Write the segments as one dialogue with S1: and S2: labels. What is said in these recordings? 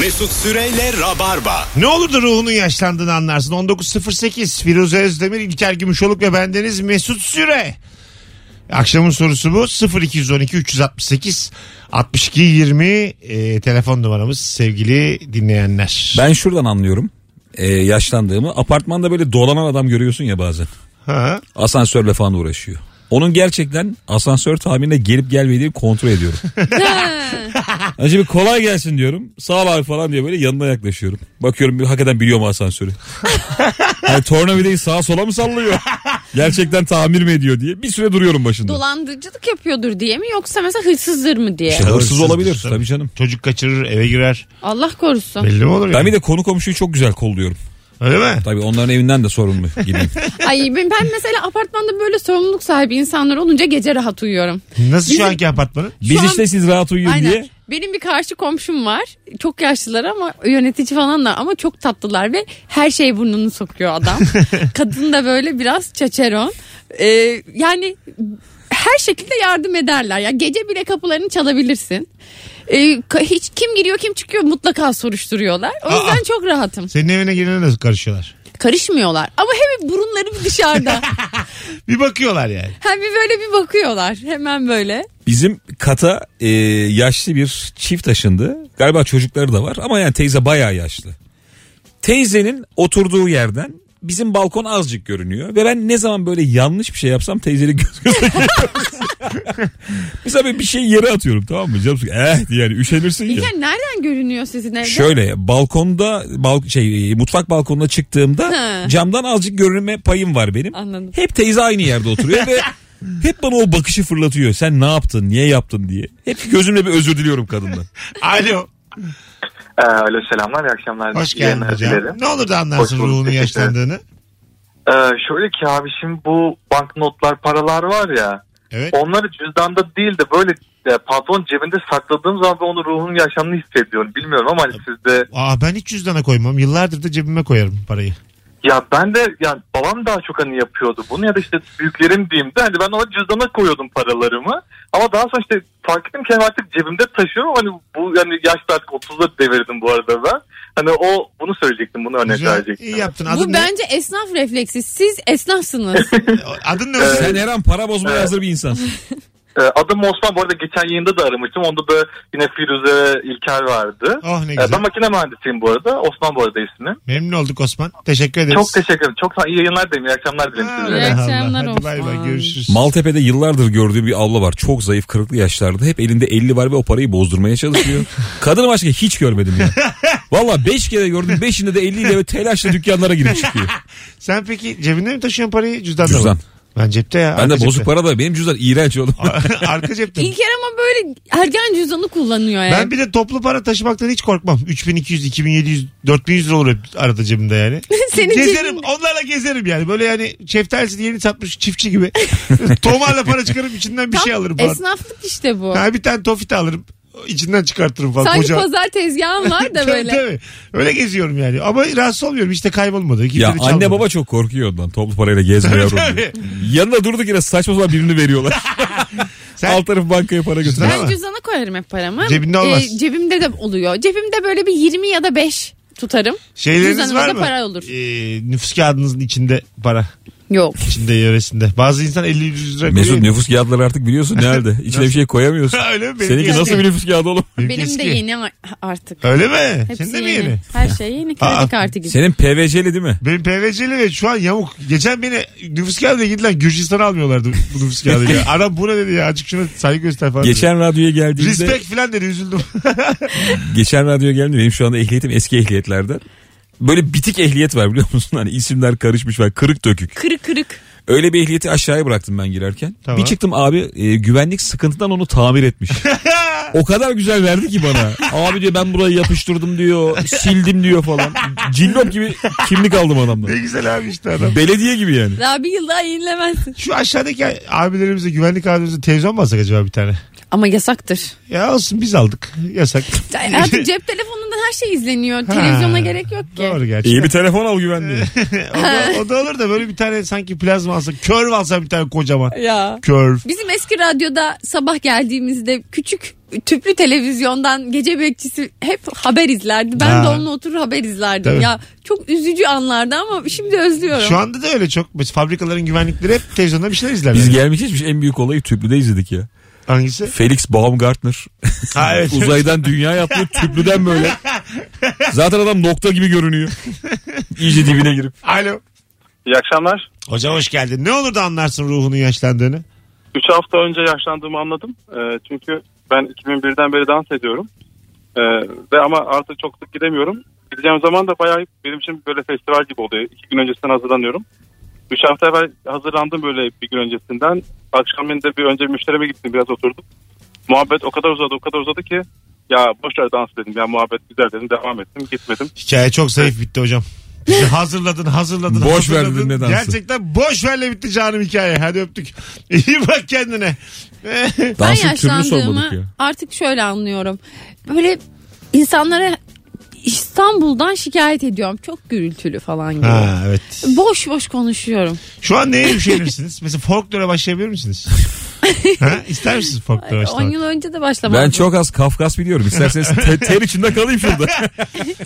S1: Mesut Süreyle Rabarba.
S2: Ne olur da ruhunun yaşlandığını anlarsın. 19.08 Firuze Özdemir, İlker Gümüşoluk ve bendeniz Mesut Süre. Akşamın sorusu bu 0212 368 62 20 e, telefon numaramız sevgili dinleyenler.
S3: Ben şuradan anlıyorum e, yaşlandığımı. Apartmanda böyle dolanan adam görüyorsun ya bazen.
S2: Ha.
S3: Asansörle falan uğraşıyor. Onun gerçekten asansör tahminine gelip gelmediğini kontrol ediyorum. Önce bir kolay gelsin diyorum. Sağ ol abi falan diye böyle yanına yaklaşıyorum. Bakıyorum bir- hakikaten biliyor mu asansörü? yani tornavidayı sağa sola mı sallıyor? Gerçekten tamir mi ediyor diye. Bir süre duruyorum başında.
S4: Dolandırıcılık yapıyordur diye mi yoksa mesela hırsızdır mı diye.
S3: İşte Şey, hırsız olabilir
S2: Hırsızdır.
S3: tabii canım.
S2: Çocuk kaçırır eve girer.
S4: Allah korusun.
S2: Belli mi olur
S3: Ben
S2: yani?
S3: bir de konu komşuyu çok güzel kolluyorum.
S2: Öyle mi?
S3: Tabii onların evinden de sorumlu gideyim.
S4: Ay ben, ben mesela apartmanda böyle sorumluluk sahibi insanlar olunca gece rahat uyuyorum.
S2: Nasıl
S4: Bizim-
S2: şu anki apartmanın?
S3: Biz
S4: an-
S3: işte siz rahat uyuyun
S4: Aynen.
S3: diye.
S4: Benim bir karşı komşum var. Çok yaşlılar ama yönetici falan da ama çok tatlılar ve her şey burnunu sokuyor adam. Kadın da böyle biraz çaçeron. Ee, yani her şekilde yardım ederler. Ya gece bile kapılarını çalabilirsin. Ee, ka- hiç kim giriyor kim çıkıyor mutlaka soruşturuyorlar. O yüzden çok rahatım.
S2: Senin evine girene nasıl karışıyorlar?
S4: Karışmıyorlar ama hep burunları bir dışarıda.
S2: Bir bakıyorlar yani.
S4: Hem bir böyle bir bakıyorlar hemen böyle.
S3: Bizim kata e, yaşlı bir çift taşındı. Galiba çocukları da var ama yani teyze bayağı yaşlı. Teyzenin oturduğu yerden bizim balkon azıcık görünüyor. Ve ben ne zaman böyle yanlış bir şey yapsam teyzeyle göz göze geliyoruz. Mesela ben bir şey yere atıyorum tamam mı? Canım sıkıyor. eh diye yani üşenirsin ya.
S4: İlker nereden görünüyor sizin evde?
S3: Şöyle balkonda bal, şey e, mutfak balkonuna çıktığımda
S4: Ha.
S3: camdan azıcık görünme payım var benim.
S4: Anladım.
S3: Hep teyze aynı yerde oturuyor ve hep bana o bakışı fırlatıyor. Sen ne yaptın, niye yaptın diye. Hep gözümle bir özür diliyorum kadından.
S2: Alo.
S5: Ee, Alo selamlar, iyi akşamlar.
S2: Hoş
S5: iyi
S2: geldin
S5: yayınlar
S2: hocam.
S5: dilerim.
S2: Ne olur da
S5: Hoş
S2: anlarsın
S5: bulduk,
S2: ruhunun
S5: teşekkür
S2: yaşlandığını.
S5: Ee, şöyle ki abi şimdi bu banknotlar, paralar var ya.
S2: Evet.
S5: Onları cüzdanda değil de böyle e, pantolon cebinde sakladığım zaman ben onun ruhunun yaşamını hissediyorum. Bilmiyorum ama hani sizde
S2: Aa ben hiç cüzdana koymam. Yıllardır da cebime koyarım parayı.
S5: ya ben de yani babam daha çok hani yapıyordu bunu ya da işte büyüklerim diyeyim de hani ben ona cüzdana koyuyordum paralarımı. Ama daha sonra işte fark ettim ki hani artık cebimde taşıyorum hani bu yani yaşta artık 30'da devirdim bu arada ben. Hani o bunu söyleyecektim bunu örnek
S2: Güzel.
S5: verecektim.
S2: İyi yaptın.
S4: Bu
S2: Adın, ne?
S4: bence esnaf refleksi. Siz esnafsınız.
S2: Adın ne?
S3: Sen her an para bozmaya hazır bir insansın.
S5: Ee, Adım Osman bu arada geçen yayında da aramıştım. Onda da yine Firuze İlker vardı.
S2: Oh ne
S5: Ee,
S2: güzel.
S5: Ben makine mühendisiyim bu arada. Osman bu arada ismi.
S2: Memnun olduk Osman. Teşekkür ederiz.
S5: Çok teşekkür ederim. Çok sağ iyi yayınlar dilerim. İyi akşamlar dilerim
S2: Ha,
S5: size.
S4: İyi
S2: Allah.
S4: akşamlar
S2: Hadi bay bay
S4: Osman.
S2: görüşürüz.
S3: Maltepe'de yıllardır gördüğüm bir abla var. Çok zayıf kırıklı yaşlarda. Hep elinde 50 var ve o parayı bozdurmaya çalışıyor. Kadını başka hiç görmedim ya. Valla 5 kere gördüm. 5'inde de 50 ile ve telaşla dükkanlara girip çıkıyor.
S2: Sen peki cebinde mi taşıyorsun parayı cüzdanda
S3: Cüzdan.
S2: mı? Ben cepte ya.
S3: Ben
S2: arka
S3: de bozuk
S2: cepte.
S3: para da benim cüzdan iğrenç oğlum.
S2: arka cepte.
S4: İlker ama böyle ergen cüzdanı kullanıyor yani.
S2: Ben bir de toplu para taşımaktan hiç korkmam. 3200, 2700, 4100 lira olur hep arada cebimde yani.
S4: Senin
S2: gezerim.
S4: cebinde.
S2: Onlarla gezerim yani. Böyle yani şeftalisi yeni satmış çiftçi gibi. Tomarla para çıkarıp içinden bir
S4: Tam
S2: şey alırım falan.
S4: Esnaflık işte bu.
S2: Ha, bir tane tofita alırım. İçinden çıkartırım falan.
S4: Sanki
S2: Koca-
S4: pazar tezgahın var da
S2: Tabii,
S4: böyle.
S2: tabii. Öyle geziyorum yani. Ama rahatsız olmuyorum. İşte kaybolmadı. Kimse
S3: ya
S2: de çalmadı.
S3: anne baba çok korkuyor ondan toplu parayla gezme yavrum diye. Yanına durduk yine saçma sapan birini veriyorlar.
S2: Sen-
S3: Alt taraf bankaya para götürüyor.
S2: Ama-
S4: Ben cüzdana koyarım hep paramı. Ee,
S2: Cebinde olmaz.
S4: cebimde de oluyor. Cebimde böyle bir 20 ya da 5 tutarım.
S2: Şeyleriniz
S4: Cüzdanımızda
S2: var mı?
S4: para olur.
S2: Ee, nüfus kağıdınızın içinde para.
S4: Yok.
S2: İçinde yöresinde. Bazı insan 50 100 lira
S3: Mesut
S2: koyuyor.
S3: nüfus kağıtları artık biliyorsun nerede. İçine bir şey koyamıyorsun.
S2: Öyle mi? Benim
S3: Seninki
S2: eski.
S3: nasıl bir nüfus kağıdı oğlum?
S2: Benimki
S4: Benim de
S2: eski.
S4: yeni a- artık.
S2: Öyle mi?
S4: Hepsi
S2: Senin de mi
S4: yeni.
S2: yeni?
S4: Her şey yeni kredi
S2: Aa.
S4: kartı gibi.
S3: Senin PVC'li değil mi?
S2: Benim PVC'li ve şu an yamuk. Geçen beni nüfus kağıdıyla gidilen Gürcistan'a almıyorlardı bu nüfus kağıdıyla. Adam bu ne dedi ya azıcık şuna saygı göster falan. dedi.
S3: Geçen radyoya geldiğimde
S2: Respect falan dedi üzüldüm.
S3: geçen radyoya geldiğimde benim şu anda ehliyetim eski ehliyetlerden. Böyle bitik ehliyet var biliyor musun? Hani isimler karışmış var kırık dökük.
S4: Kırık kırık.
S3: Öyle bir ehliyeti aşağıya bıraktım ben girerken.
S2: Tamam.
S3: Bir çıktım abi e, güvenlik sıkıntıdan onu tamir etmiş. o kadar güzel verdi ki bana. Abi diyor ben burayı yapıştırdım diyor. Sildim diyor falan. Cillop gibi kimlik aldım adamdan.
S2: ne güzel abi işte adam.
S3: Belediye gibi yani.
S4: Daha bir yıl daha yenilemezsin.
S2: Şu aşağıdaki abilerimize güvenlik abilerimize televizyon mu alsak acaba bir tane?
S4: Ama yasaktır.
S2: Ya olsun biz aldık. Yasak.
S4: Artık cep telefonundan her şey izleniyor.
S2: Ha.
S4: Televizyona gerek yok ki.
S2: Doğru gerçekten.
S3: İyi bir telefon al güvenli.
S2: o, da, o da olur da böyle bir tane sanki plazma alsak. Kör alsa bir tane kocaman.
S4: Ya.
S2: Kör.
S4: Bizim eski radyoda sabah geldiğimizde küçük tüplü televizyondan gece bekçisi hep haber izlerdi. Ben
S2: Ha.
S4: de onunla oturur haber izlerdim.
S2: Tabii.
S4: Ya çok üzücü anlardı ama şimdi özlüyorum.
S2: Şu anda da öyle çok. Biz fabrikaların güvenlikleri hep televizyonda bir şeyler izlerler.
S3: Biz gelmiş geçmiş en büyük olayı tüplüde izledik ya.
S2: Hangisi?
S3: Felix Baumgartner.
S2: Ha, evet.
S3: Uzaydan dünya yaptı tüplüden böyle. Zaten adam nokta gibi görünüyor. İyice dibine girip.
S2: Alo.
S6: İyi akşamlar.
S2: Hocam hoş geldin. Ne olur da anlarsın ruhunun yaşlandığını.
S6: 3 hafta önce yaşlandığımı anladım. Ee, çünkü ben 2001'den beri dans ediyorum. Ee, ve ama artık çok sık gidemiyorum. Gideceğim zaman da bayağı benim için böyle festival gibi oluyor. 2 gün öncesinden hazırlanıyorum. 3 hafta evvel hazırlandım böyle bir gün öncesinden. Akşamında bir önce müşterime gittim biraz oturdum. Muhabbet o kadar uzadı o kadar uzadı ki ya boşver dans dedim ya muhabbet güzel dedim devam ettim gitmedim.
S2: Hikaye çok zayıf bitti hocam. Bizi hazırladın hazırladın.
S3: Boş
S2: hazırladın.
S3: verdin ne dansı?
S2: Gerçekten boş verle bitti canım hikaye. Hadi öptük. İyi bak kendine.
S4: ben
S3: Dansın türünü sormadık
S4: yaşlandığımı
S3: ya.
S4: artık şöyle anlıyorum. Böyle insanlara İstanbul'dan şikayet ediyorum. Çok gürültülü falan gibi.
S2: ha evet.
S4: Boş boş konuşuyorum.
S2: Şu an neye hemşehrirsiniz? Mesela folklora başlayabilir misiniz? ha? İster misiniz folklora
S4: 10
S2: başlamak?
S4: yıl önce de başlamadım.
S3: Ben çok az Kafkas biliyorum. İsterseniz te- ter içinde kalayım şurada.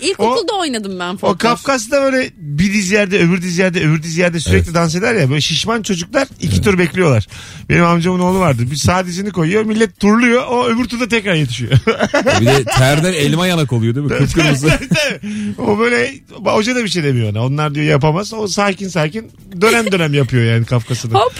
S4: İlkokulda oynadım ben
S2: O
S4: folklor.
S2: Kafkas'ta böyle bir dizi yerde öbür dizi yerde öbür dizi yerde sürekli dans eder ya böyle şişman çocuklar iki tur bekliyorlar. Benim amcamın oğlu vardı. Bir sağ dizini koyuyor millet turluyor o öbür turda tekrar yetişiyor.
S3: bir de terden elma yanak oluyor değil mi? Kıpkırmızı.
S2: o böyle hoca da bir şey demiyor ona. Onlar diyor yapamaz. O sakin sakin dönem dönem yapıyor yani Kafkas'ını.
S4: Hop.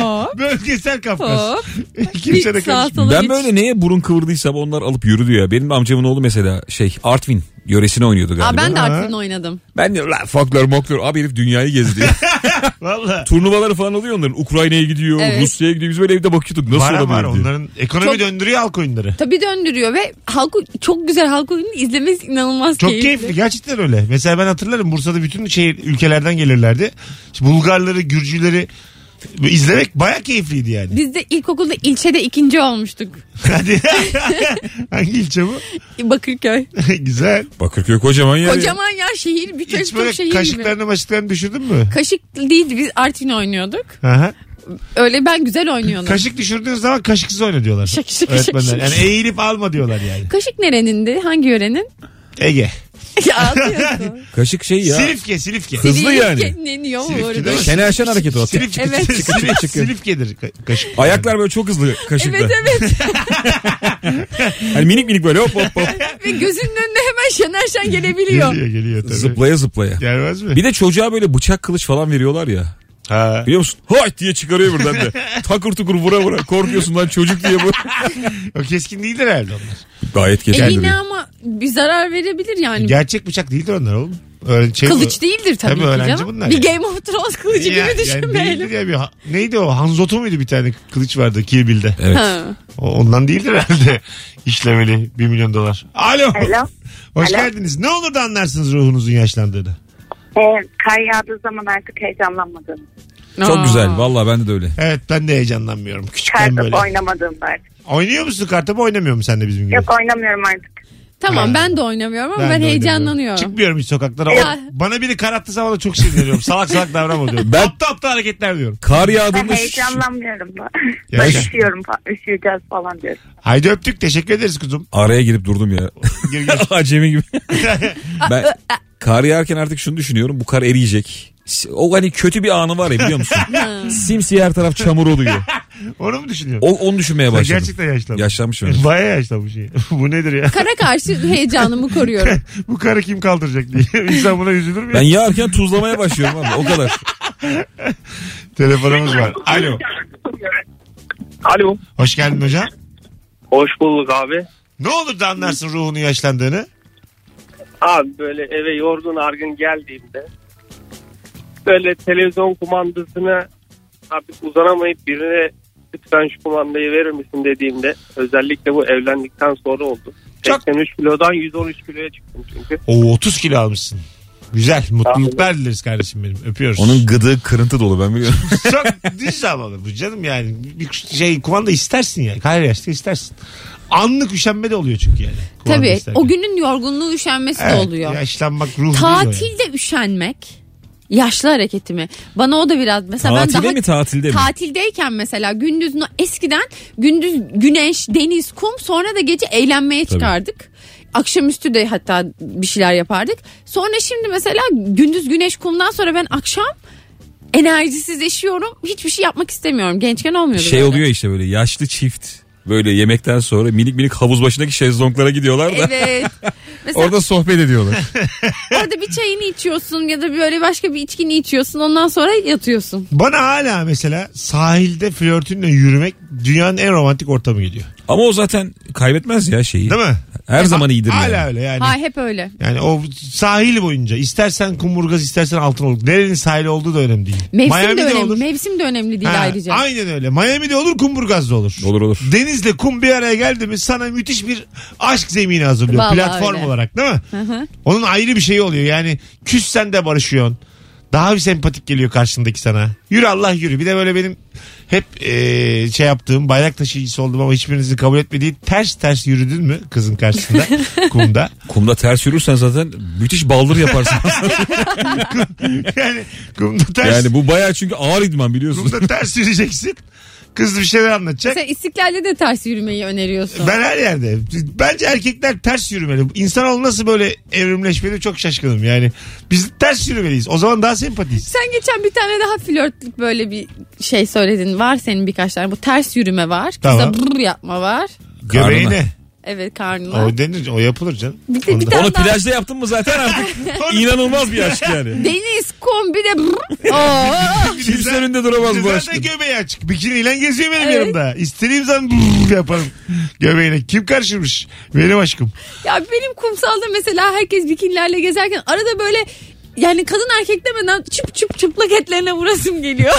S4: Hop.
S2: Bölgesel Kafkas.
S4: Hop.
S2: Kimse de
S4: Bir sağa
S2: karışmıyor.
S4: sola
S3: Ben
S4: hiç-
S3: böyle neye burun kıvırdıysam onlar alıp yürüdü ya. Benim amcamın oğlu mesela şey Artvin yöresine oynuyordu galiba.
S4: Aa, ben de
S2: Ha.
S4: Artvin oynadım.
S3: Ben de lan folklor moklor abi herif dünyayı gezdi.
S2: Valla.
S3: Turnuvaları falan oluyor onların. Ukrayna'ya gidiyor,
S4: Evet.
S3: Rusya'ya gidiyor. Biz böyle evde bakıyorduk. Nasıl
S2: Var var
S3: olabilir diye.
S2: onların ekonomi
S4: Çok-
S2: döndürüyor halk oyunları.
S4: Tabii döndürüyor ve halk çok güzel halk oyunu izlemesi inanılmaz
S2: Çok
S4: keyifli.
S2: keyifli gerçekten öyle. Mesela ben hatırlarım Bursa'da bütün şehir ülkelerden gelirlerdi. İşte Bulgarları, Gürcüleri izlemek baya keyifliydi yani.
S4: Biz de ilkokulda ilçede ikinci olmuştuk.
S2: Hadi. Hangi ilçe bu?
S4: Bakırköy.
S2: Güzel.
S3: Bakırköy kocaman yer. ya.
S4: Kocaman ya şehir. Bir
S2: Hiç
S4: köşk çok şehir
S2: böyle
S4: gibi.
S2: kaşıklarını başlıklarını düşürdün mü?
S4: Kaşık değildi biz Artvin oynuyorduk.
S2: Aha.
S4: Öyle ben güzel oynuyordum.
S2: Kaşık düşürdüğün zaman kaşıksız oyna diyorlar.
S4: Şık şık şık
S2: Öğretmenler.
S4: şık.
S2: Yani eğilip alma diyorlar yani.
S4: Kaşık nerenindi? Hangi yörenin?
S2: Ege.
S4: ya atıyorsun.
S3: Kaşık şey ya.
S2: Silifke, Silifke.
S3: Hız- Hızlı yani.
S4: Deniyor mu
S2: Silifke
S4: orada?
S2: değil mi?
S3: Şener Şen hareketi o.
S2: Silifke.
S4: Evet.
S2: Silifke- Silifkedir ka- kaşık.
S3: Ayaklar böyle çok hızlı kaşıkla.
S4: Evet evet.
S3: Hani minik minik böyle hop hop hop.
S4: Ve gözünün önüne hemen Şener Şen gelebiliyor.
S2: Geliyor geliyor tabii.
S3: zıplaya zıplaya.
S2: Gelmez mi?
S3: Bir de çocuğa böyle bıçak kılıç falan veriyorlar ya.
S2: Ha.
S3: Biliyor musun? Hay diye çıkarıyor buradan da. Takır tukur vura vura. Korkuyorsun lan çocuk diye bu.
S2: O keskin değildir herhalde onlar.
S3: Gayet
S4: E
S3: geçerli.
S4: yine ama bir zarar verebilir yani.
S2: Gerçek bıçak değildir onlar oğlum. Öyle şey
S4: Hani Kılıç değildir tabii,
S2: Tabii
S4: ki
S2: öğrenci
S4: canım.
S2: bunlar
S4: bir
S2: yani.
S4: Game of Thrones kılıcı
S2: Ya-
S4: gibi düşünmeyelim.
S2: değildir ya bir ha- neydi o? Hanzoto muydu bir tane kılıç vardı Kill Bill'de.
S3: Evet.
S4: Ha.
S2: O, ondan değildir herhalde. İşlemeli 1 milyon dolar. Alo.
S7: Alo.
S2: Hoş
S7: Alo.
S2: geldiniz. Ne olur da anlarsınız ruhunuzun yaşlandığını.
S7: Ee, kar yağdığı zaman artık heyecanlanmadım.
S4: Aa.
S3: Çok güzel. Valla bende de öyle.
S2: Evet ben de heyecanlanmıyorum. Küçükken
S7: Kartop
S2: böyle.
S7: oynamadığımda artık.
S2: Oynuyor musun kartopu oynamıyor musun sen de bizim gibi?
S7: Yok oynamıyorum artık.
S4: Tamam
S2: Ha.
S4: ben de oynamıyorum ama
S2: de
S4: ben,
S2: oynamıyorum.
S4: heyecanlanıyorum.
S2: Çıkmıyorum hiç sokaklara.
S4: Ya.
S2: O- Bana biri kar attığı zaman da çok sinirleniyorum. salak salak davranma diyorum.
S3: Ben-
S2: Aptal aptal hareketler diyorum.
S3: Kar
S7: Ben
S3: yağdığında şu-
S7: heyecanlanmıyorum da.
S2: Ya
S7: ben
S2: işte.
S7: üşüyorum falan, üşüyeceğiz falan diyorum.
S2: Haydi öptük teşekkür ederiz kuzum.
S3: araya girip durdum ya.
S2: Gir gir.
S3: Acemi gibi. ben kar yağarken artık şunu düşünüyorum. Bu kar eriyecek. O hani kötü bir anı var ya biliyor musun? Simsiyah her taraf çamur oluyor.
S2: Onu mu düşünüyorsun?
S3: O, onu düşünmeye
S2: Sen
S3: başladım.
S2: gerçekten yaşlandın.
S3: Yaşlanmış mı?
S2: Baya yaşlanmış. ya. Bu nedir ya?
S4: Kara karşı heyecanımı koruyorum.
S2: Bu karı kim kaldıracak diye. İnsan buna üzülür mü? ya?
S3: Ben yağarken tuzlamaya başlıyorum abi. O kadar.
S2: Telefonumuz var. Alo.
S6: Alo.
S2: Hoş geldin hocam.
S6: Hoş bulduk abi.
S2: Ne olur da anlarsın ruhunun yaşlandığını.
S6: Abi böyle eve yorgun argın geldiğimde böyle televizyon kumandasını artık uzanamayıp birine lütfen şu kumandayı verir misin dediğimde özellikle bu evlendikten sonra oldu.
S2: Çok-
S6: 83 kilodan 113 kiloya çıktım çünkü.
S2: Oo 30 kilo almışsın. Güzel. Mutluluklar dileriz kardeşim benim. Öpüyoruz.
S3: Onun gıdığı kırıntı dolu ben biliyorum.
S2: Çok düz havalı bu canım yani. Bir şey kumanda istersin yani. Her yaşta istersin. Anlık üşenme de oluyor çünkü yani. Kumanda
S4: Tabii
S2: isterken.
S4: o günün yorgunluğu üşenmesi
S2: Evet,
S4: de oluyor.
S2: Yaşlanmak ruh Tatil.
S4: Tatilde üşenmek yaşlı hareketi mi? Bana o da biraz mesela ben
S3: Tatile
S4: daha
S3: mi tatilde mi?
S4: tatildeyken mesela gündüz no- eskiden gündüz güneş, deniz, kum sonra da gece eğlenmeye çıkardık. Akşamüstü de hatta bir şeyler yapardık. Sonra şimdi mesela gündüz güneş kumdan sonra ben akşam enerjisizleşiyorum. Hiçbir şey yapmak istemiyorum. Gençken olmuyordu.
S3: Şey
S4: böyle.
S3: oluyor işte böyle yaşlı çift böyle yemekten sonra minik minik havuz başındaki şezlonglara gidiyorlar da
S4: Evet. Mesela
S3: orada sohbet ediyorlar.
S4: orada bir çayını içiyorsun ya da böyle başka bir içkini içiyorsun. Ondan sonra yatıyorsun.
S2: Bana hala mesela sahilde flörtünle yürümek dünyanın en romantik ortamı geliyor.
S3: Ama o zaten kaybetmez ya şeyi.
S2: Değil mi?
S3: Her zaman iyidir
S2: hala
S3: yani.
S2: öyle yani.
S4: Hay hep öyle.
S2: Yani o sahil boyunca istersen kumburgaz istersen altınoluk. Nerenin sahili olduğu da önemli değil.
S4: Mevsim
S2: Miami'de
S4: de önemli.
S2: olur.
S4: Mevsim de önemli değil
S2: Ha,
S4: ayrıca.
S2: Aynen öyle. Miami'de olur kumburgazda olur.
S3: Olur olur.
S2: Denizle kum bir araya geldi mi sana müthiş bir aşk zemini hazırlıyor.
S4: Vallahi
S2: platform
S4: öyle.
S2: olarak değil mi?
S4: hı.
S2: Onun ayrı bir şeyi oluyor. Yani küssen de barışıyorsun. Daha bir sempatik geliyor karşındaki sana. Yürü Allah yürü. Bir de böyle benim hep eee, şey yaptığım bayrak taşıyıcısı oldum ama hiçbirinizin kabul etmediği ters ters yürüdün mü kızın karşısında kumda.
S3: Kumda ters yürürsen zaten müthiş baldır yaparsın.
S2: Yani kumda ters.
S3: yani bu baya çünkü ağır idman biliyorsun.
S2: Kumda ters yürüyeceksin. Kız bir şeyler anlatacak.
S4: Mesela istiklalde de ters yürümeyi öneriyorsun.
S2: Ben her yerde. Bence erkekler ters yürümeli. İnsanoğlu nasıl böyle evrimleşmeli çok şaşkınım yani. Biz ters yürümeliyiz. O zaman daha sempatiyiz.
S4: Sen geçen bir tane daha flörtlük böyle bir şey söyledin. Var senin birkaç tane. Bu ters yürüme var. Kıza
S2: Tamam.
S4: brr yapma var.
S2: Göbeğine.
S4: Evet karnına.
S2: O denir. O yapılır canım.
S4: Bir de bir
S2: Onda-
S4: tane
S3: Onu
S4: daha.
S3: plajda yaptın mı zaten artık inanılmaz bir aşk yani.
S4: Deniz, kum bir de brr. Oo.
S3: Kimse önünde duramaz bu
S2: Zaten
S3: aşkın.
S2: göbeği açık. Bikiniyle geziyor benim
S4: Evet.
S2: yanımda. İstediğim zaman brrr yaparım göbeğine. Kim karışırmış? Benim aşkım.
S4: Ya benim kumsalda mesela herkes bikinilerle gezerken arada böyle yani kadın erkek demeden çıp çıp çıplak etlerine vurasım geliyor.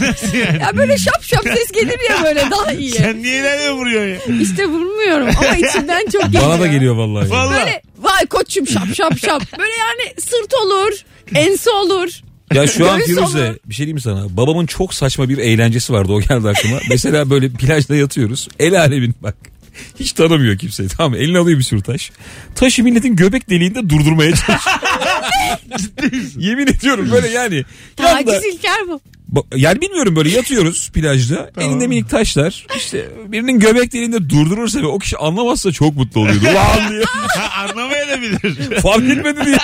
S2: Nasıl yani?
S4: ya böyle şap şap ses gelir ya böyle daha iyi.
S2: Sen niye nereye vuruyorsun ya?
S4: İşte vurmuyorum ama içimden çok geliyor.
S3: Bana da geliyor vallahi.
S2: Valla.
S4: Böyle vay koçum şap şap şap. Böyle yani sırt olur, ense olur.
S3: Ya şu an
S4: Göğüs
S3: Firuze
S4: olur.
S3: bir şey diyeyim mi sana. Babamın çok saçma bir eğlencesi vardı o geldi aklıma. Mesela böyle plajda yatıyoruz. El alemin bak. Hiç tanımıyor kimseyi tamam mı? Eline alıyor bir sürü taş. Taşı milletin göbek deliğinde durdurmaya çalışıyor. Yemin ediyorum böyle yani. Yanda,
S4: Taciz İlker bu.
S3: Ba- yani bilmiyorum böyle yatıyoruz plajda. Elinde minik taşlar. İşte birinin göbek deliğinde durdurursa ve o kişi anlamazsa çok mutlu oluyordu. Ulan diye.
S2: Ha, anlamayabilir.
S3: Fark etmedi diye.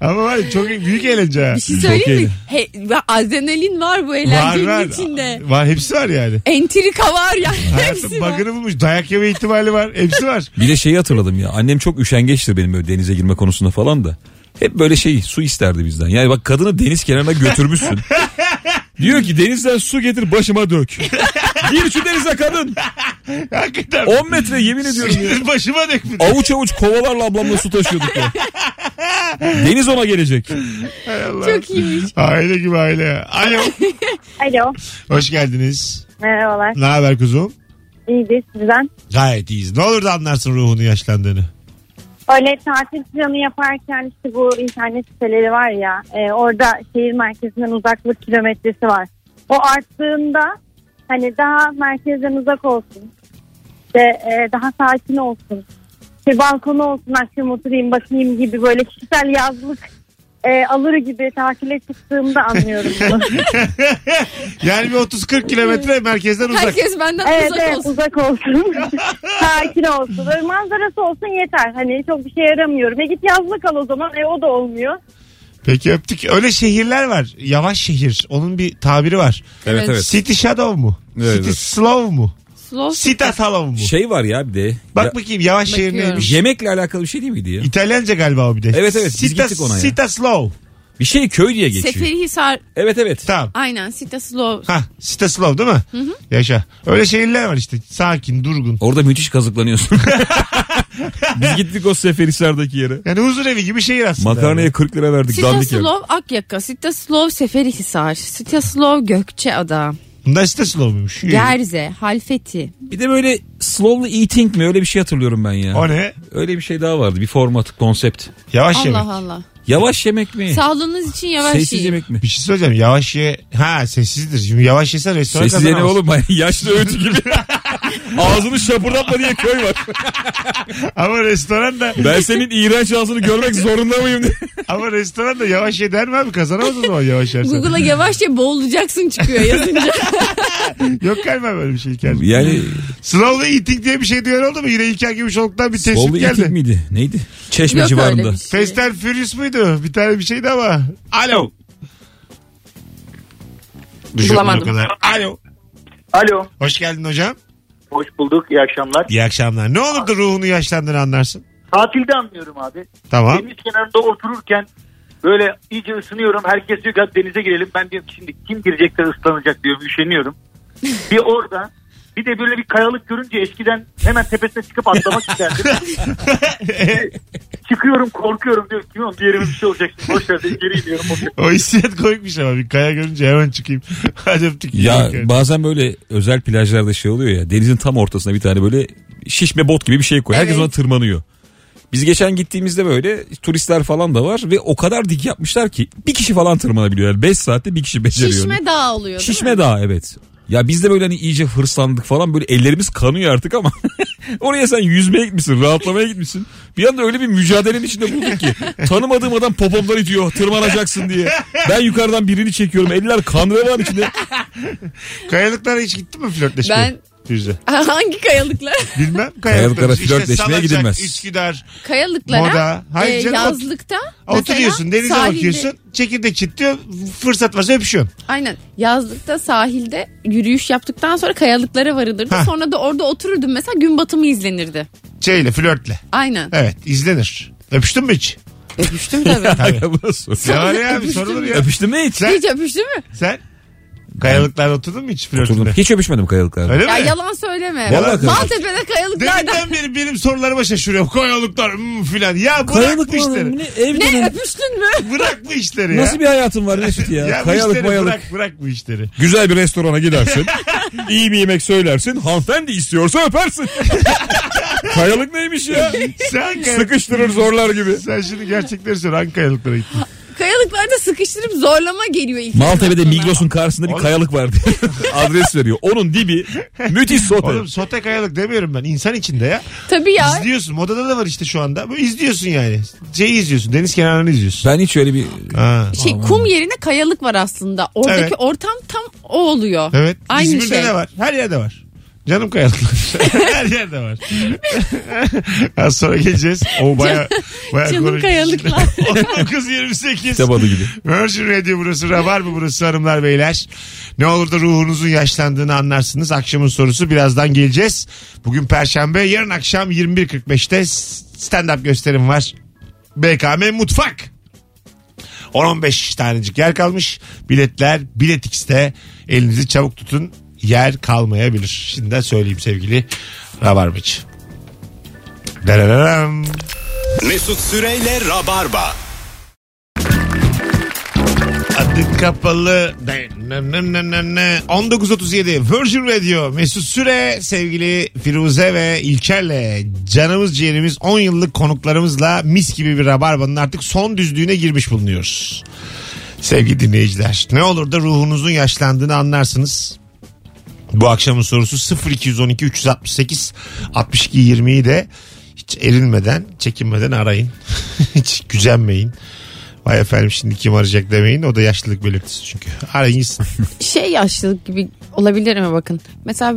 S2: Ama var ya, çok büyük eğlence. ha.
S4: Bir şey söyleyeyim mi?
S3: iyi.
S4: He, ve adrenalin var bu
S2: Var
S4: eğlencenin
S2: var.
S4: içinde.
S2: Var hepsi var yani.
S4: Entrika var yani
S2: Hayatım
S4: hepsi var.
S2: bug'ını bulmuş. Dayak yeme ihtimali var. Hepsi var.
S3: Bir de şeyi hatırladım ya. Annem çok üşengeçtir benim böyle denize girme konusunda falan da. Hep böyle şey su isterdi bizden. Yani bak kadını deniz kenarına götürmüşsün. Diyor ki denizden su getir başıma dök. Gir şu denize kadın.
S2: Hakikaten.
S3: 10 metre yemin ediyorum ya.
S2: Başıma dökmüş.
S3: Avuç avuç kovalarla ablamla su taşıyorduk ya. Deniz ona gelecek.
S4: Çok iyiymiş.
S2: Aile gibi aile. Alo.
S7: Alo.
S2: Hoş geldiniz.
S7: Merhabalar.
S2: Ne haber kuzum?
S7: İyidir sizden.
S2: Gayet iyiyiz. Ne olur da anlarsın ruhunu yaşlandığını.
S7: Öyle tatil planı yaparken işte bu internet siteleri var ya e, orada şehir merkezinden uzaklık kilometresi var. O arttığında hani daha merkezden uzak olsun. İşte, e, daha sakin olsun. İşte balkonu olsun akşam oturayım bakayım gibi böyle kişisel yazlık e, alır gibi tatile çıktığımda anlıyorum bunu.
S2: Yani bir 30-40 kilometre merkezden uzak.
S4: Herkes benden
S7: Evet
S4: uzak
S7: evet
S4: olsun.
S7: uzak olsun. Sakin olsun. Böyle manzarası olsun yeter. Hani çok bir şey yaramıyorum. E git yazlık al o zaman. E o da olmuyor.
S2: Peki öptük. Öyle şehirler var. Yavaş şehir. Onun bir tabiri var.
S4: Evet, evet.
S2: City shadow mu?
S3: Evet,
S2: City
S3: evet.
S2: slow mu?
S4: Slow.
S2: City slow mu?
S3: Şey var ya bir de.
S2: Bak
S3: Ya-
S2: bakayım yavaş şehir
S4: Bakıyorum.
S2: neymiş?
S3: yemekle alakalı bir şey değil miydi ya?
S2: İtalyanca galiba o bir de.
S3: Evet, evet. Biz
S2: Sita,
S3: gittik ona ya.
S2: Sita slow.
S3: Bir şey köy diye geçiyor.
S4: Seferihisar.
S3: Evet evet.
S2: Tamam.
S4: Aynen Sita Slow.
S2: Ha, Sita slow değil mi? Yaşa. Öyle şehirler var işte. Sakin, durgun.
S3: Orada müthiş kazıklanıyorsun. Biz gittik o Seferisar'daki yere.
S2: Yani huzur evi gibi şehir aslında.
S3: Makarnaya 40 lira verdik
S4: Sita
S3: dandik yer.
S4: Slow Akyaka. Sita Slow Seferihisar. Sita Slow Gökçeada.
S2: Bunlar site slow muymuş? Yürü.
S4: Gerze. Halfeti.
S3: Bir de böyle slowly eating mi öyle bir şey hatırlıyorum ben ya.
S2: O ne?
S3: Öyle bir şey daha vardı bir format konsept.
S2: Yavaş
S4: Allah
S2: yemek.
S4: Allah.
S3: Yavaş yemek mi?
S4: Sağlığınız için yavaş
S3: Sessiz
S4: yiyin.
S3: yemek mi?
S2: Bir şey söyleyeceğim. Yavaş ye. Ha sessizdir. Şimdi yavaş yesen restoran
S3: Sessiz yeme
S2: kazanamaz.
S3: oğlum baya yaşlı öğütü gibi. Ağzını şapırdatma diye köy var.
S2: Ama restoran da
S3: Ben senin iğrenç ağzını görmek zorunda mıyım diye.
S2: ama restoran da yavaş ye der mi abi? Kazanamaz o zaman yavaş yersen.
S4: Google'a yavaşça boğulacaksın çıkıyor yazınca.
S2: Yok galiba böyle bir şey İlker.
S3: Yani
S2: Slowly eating diye bir şey duyan oldu mu? Yine İlker Gümüşoluk'tan bir tespit
S3: Bolu
S2: geldi.
S3: itik miydi? Neydi? Çeşme
S4: Yok öyle
S3: civarında.
S4: bir şey.
S2: Fast and Furious muydu? Bir tane bir şeydi ama. Alo. Düşündüm
S4: Bulamadım.
S2: o kadar. Alo.
S8: Alo.
S2: Hoş geldin hocam.
S8: Hoş bulduk. iyi akşamlar.
S2: İyi akşamlar. Ne olur da ruhunu yaşlandığını anlarsın.
S8: Tatilde anlıyorum abi.
S2: Tamam.
S8: Deniz kenarında otururken böyle iyice ısınıyorum. Herkes diyor ki "Hadi denize girelim. Ben diyorum ki şimdi kim girecek de ıslanacak diyorum. Üşeniyorum. bir orada bir de böyle bir kayalık görünce eskiden hemen tepesine çıkıp atlamak isterdim. Çıkıyorum korkuyorum diyor ki bir yerime bir şey olacak. Boş ver dedi, geri iniyorum.
S2: o hissiyat koymuş ama bir kaya görünce hemen çıkayım. Hadi öptük.
S3: Ya
S2: İlker.
S3: bazen böyle özel plajlarda şey oluyor ya denizin tam ortasına bir tane böyle şişme bot gibi bir şey koy. Herkes
S4: Evet.
S3: ona tırmanıyor. Biz geçen gittiğimizde böyle turistler falan da var ve o kadar dik yapmışlar ki bir kişi falan tırmanabiliyor. Yani 5 saatte bir kişi beceriyor.
S4: Şişme dağ oluyor. değil mi?
S3: Şişme dağ evet. Ya biz de böyle hani iyice hırslandık falan böyle ellerimiz kanıyor artık ama oraya sen yüzmeye gitmişsin rahatlamaya gitmişsin. Bir anda öyle bir mücadelenin içinde bulduk ki tanımadığım adam popomdan itiyor tırmanacaksın diye. Ben yukarıdan birini çekiyorum eller kan revan içinde.
S2: Kayalıklara hiç gittin mi flörtleşmeye?
S4: Ben-
S2: Yüzde.
S4: Hangi kayalıklara?
S2: Bilmem kayalıklara.
S3: Kayalıklara
S2: İşte
S3: flörtleşmeye
S2: Salıncak,
S3: gidilmez.
S2: Üsküdar.
S4: Kayalıklara.
S2: Moda. Hayır
S4: e,
S2: canım, ot-
S4: yazlıkta. mesela
S2: Oturuyorsun denize
S4: sahilde-
S2: bakıyorsun. Çekirdek çitliyor. Fırsat varsa öpüşüyorsun.
S4: Aynen. Yazlıkta sahilde yürüyüş yaptıktan sonra kayalıklara varılırdı.
S2: Hah.
S4: Sonra da orada otururdum mesela gün batımı izlenirdi.
S2: Şeyle flörtle.
S4: Aynen.
S2: Evet izlenir. Öpüştün mü hiç?
S4: Öpüştüm tabii.
S3: Hay Allah sor.
S2: Ya var ya abi sorulur ya.
S3: Öpüştün mü hiç?
S2: Sen-
S4: Hiç öpüştün mü?
S2: Sen? Kayalıklarda oturdun mu hiç flörtünde?
S3: Oturdum. Hiç öpüşmedim kayalıklarda.
S2: Öyle
S4: Ya
S2: mi?
S4: yalan söyleme.
S3: Vallahi
S4: Maltepe'de kayalıklarda.
S2: Deminden beri benim sorularıma şaşırıyor. Kayalıklar hmm, filan. Ya bırak bu işleri.
S4: Ne öpüştün mü?
S2: Bırak bu işleri ya.
S3: Nasıl bir hayatın var Mesut ya?
S2: ya bu
S3: kayalık
S2: işleri
S3: mayalık.
S2: Bırak, bırak bu işleri.
S3: Güzel bir restorana gidersin. iyi bir yemek söylersin. Hanımefendi istiyorsa öpersin. kayalık neymiş ya?
S2: Sen, kay-
S3: Sıkıştırır zorlar gibi.
S2: sen şimdi gerçekleri söyle. Hangi kayalıklara gittin?
S4: Kayalıklarda sıkıştırıp zorlama geliyor ilk.
S3: Maltepe'de
S4: sırasına.
S3: Migros'un karşısında bir
S2: Oğlum.
S3: kayalık vardı. Adres veriyor. Onun dibi müthiş sote.
S2: Oğlum sote kayalık demiyorum ben. İnsan içinde ya.
S4: Tabii ya.
S2: İzliyorsun. Modada da var işte şu anda. Bu izliyorsun yani. Şeyi izliyorsun. Deniz kenarını izliyorsun.
S3: Ben hiç öyle bir...
S2: Ha.
S4: Şey kum yerine kayalık var aslında. Oradaki
S2: Evet.
S4: ortam tam o oluyor.
S2: Evet.
S4: Aynı
S2: İzmir'de
S4: şey.
S2: de var. Her yerde var. Canım kayalıklar. Her yerde var. Az sonra geleceğiz. O baya baya
S4: Canım
S2: konuşmuş.
S4: kayalıklar.
S2: 1928.
S3: Kitap adı gibi.
S2: Virgin Radio burası. Rabar mı burası hanımlar beyler? Ne olur da ruhunuzun yaşlandığını anlarsınız. Akşamın sorusu birazdan geleceğiz. Bugün Perşembe. Yarın akşam 21.45'te stand-up gösterim var. BKM Mutfak. 10-15 tanecik yer kalmış. Biletler Bilet X'te. Elinizi çabuk tutun. Yer kalmayabilir. Şimdi de söyleyeyim sevgili Rabarbacı. Dararam.
S1: Mesut Süreyle Rabarba.
S2: Adı kapalı. Ne, ne, ne, ne, ne. 1937 Virgin Radio Mesut Süre sevgili Firuze ve İlker'le canımız ciğerimiz 10 yıllık konuklarımızla mis gibi bir rabarbanın artık son düzlüğüne girmiş bulunuyoruz. Sevgili dinleyiciler ne olur da ruhunuzun yaşlandığını anlarsınız. Bu akşamın sorusu 0212 368 62 20'yi de hiç erinmeden, çekinmeden arayın. hiç gücenmeyin. Vay efendim şimdi kim arayacak demeyin. O da yaşlılık belirtisi çünkü. Arayın gitsin.
S4: şey yaşlılık gibi olabilir mi bakın? Mesela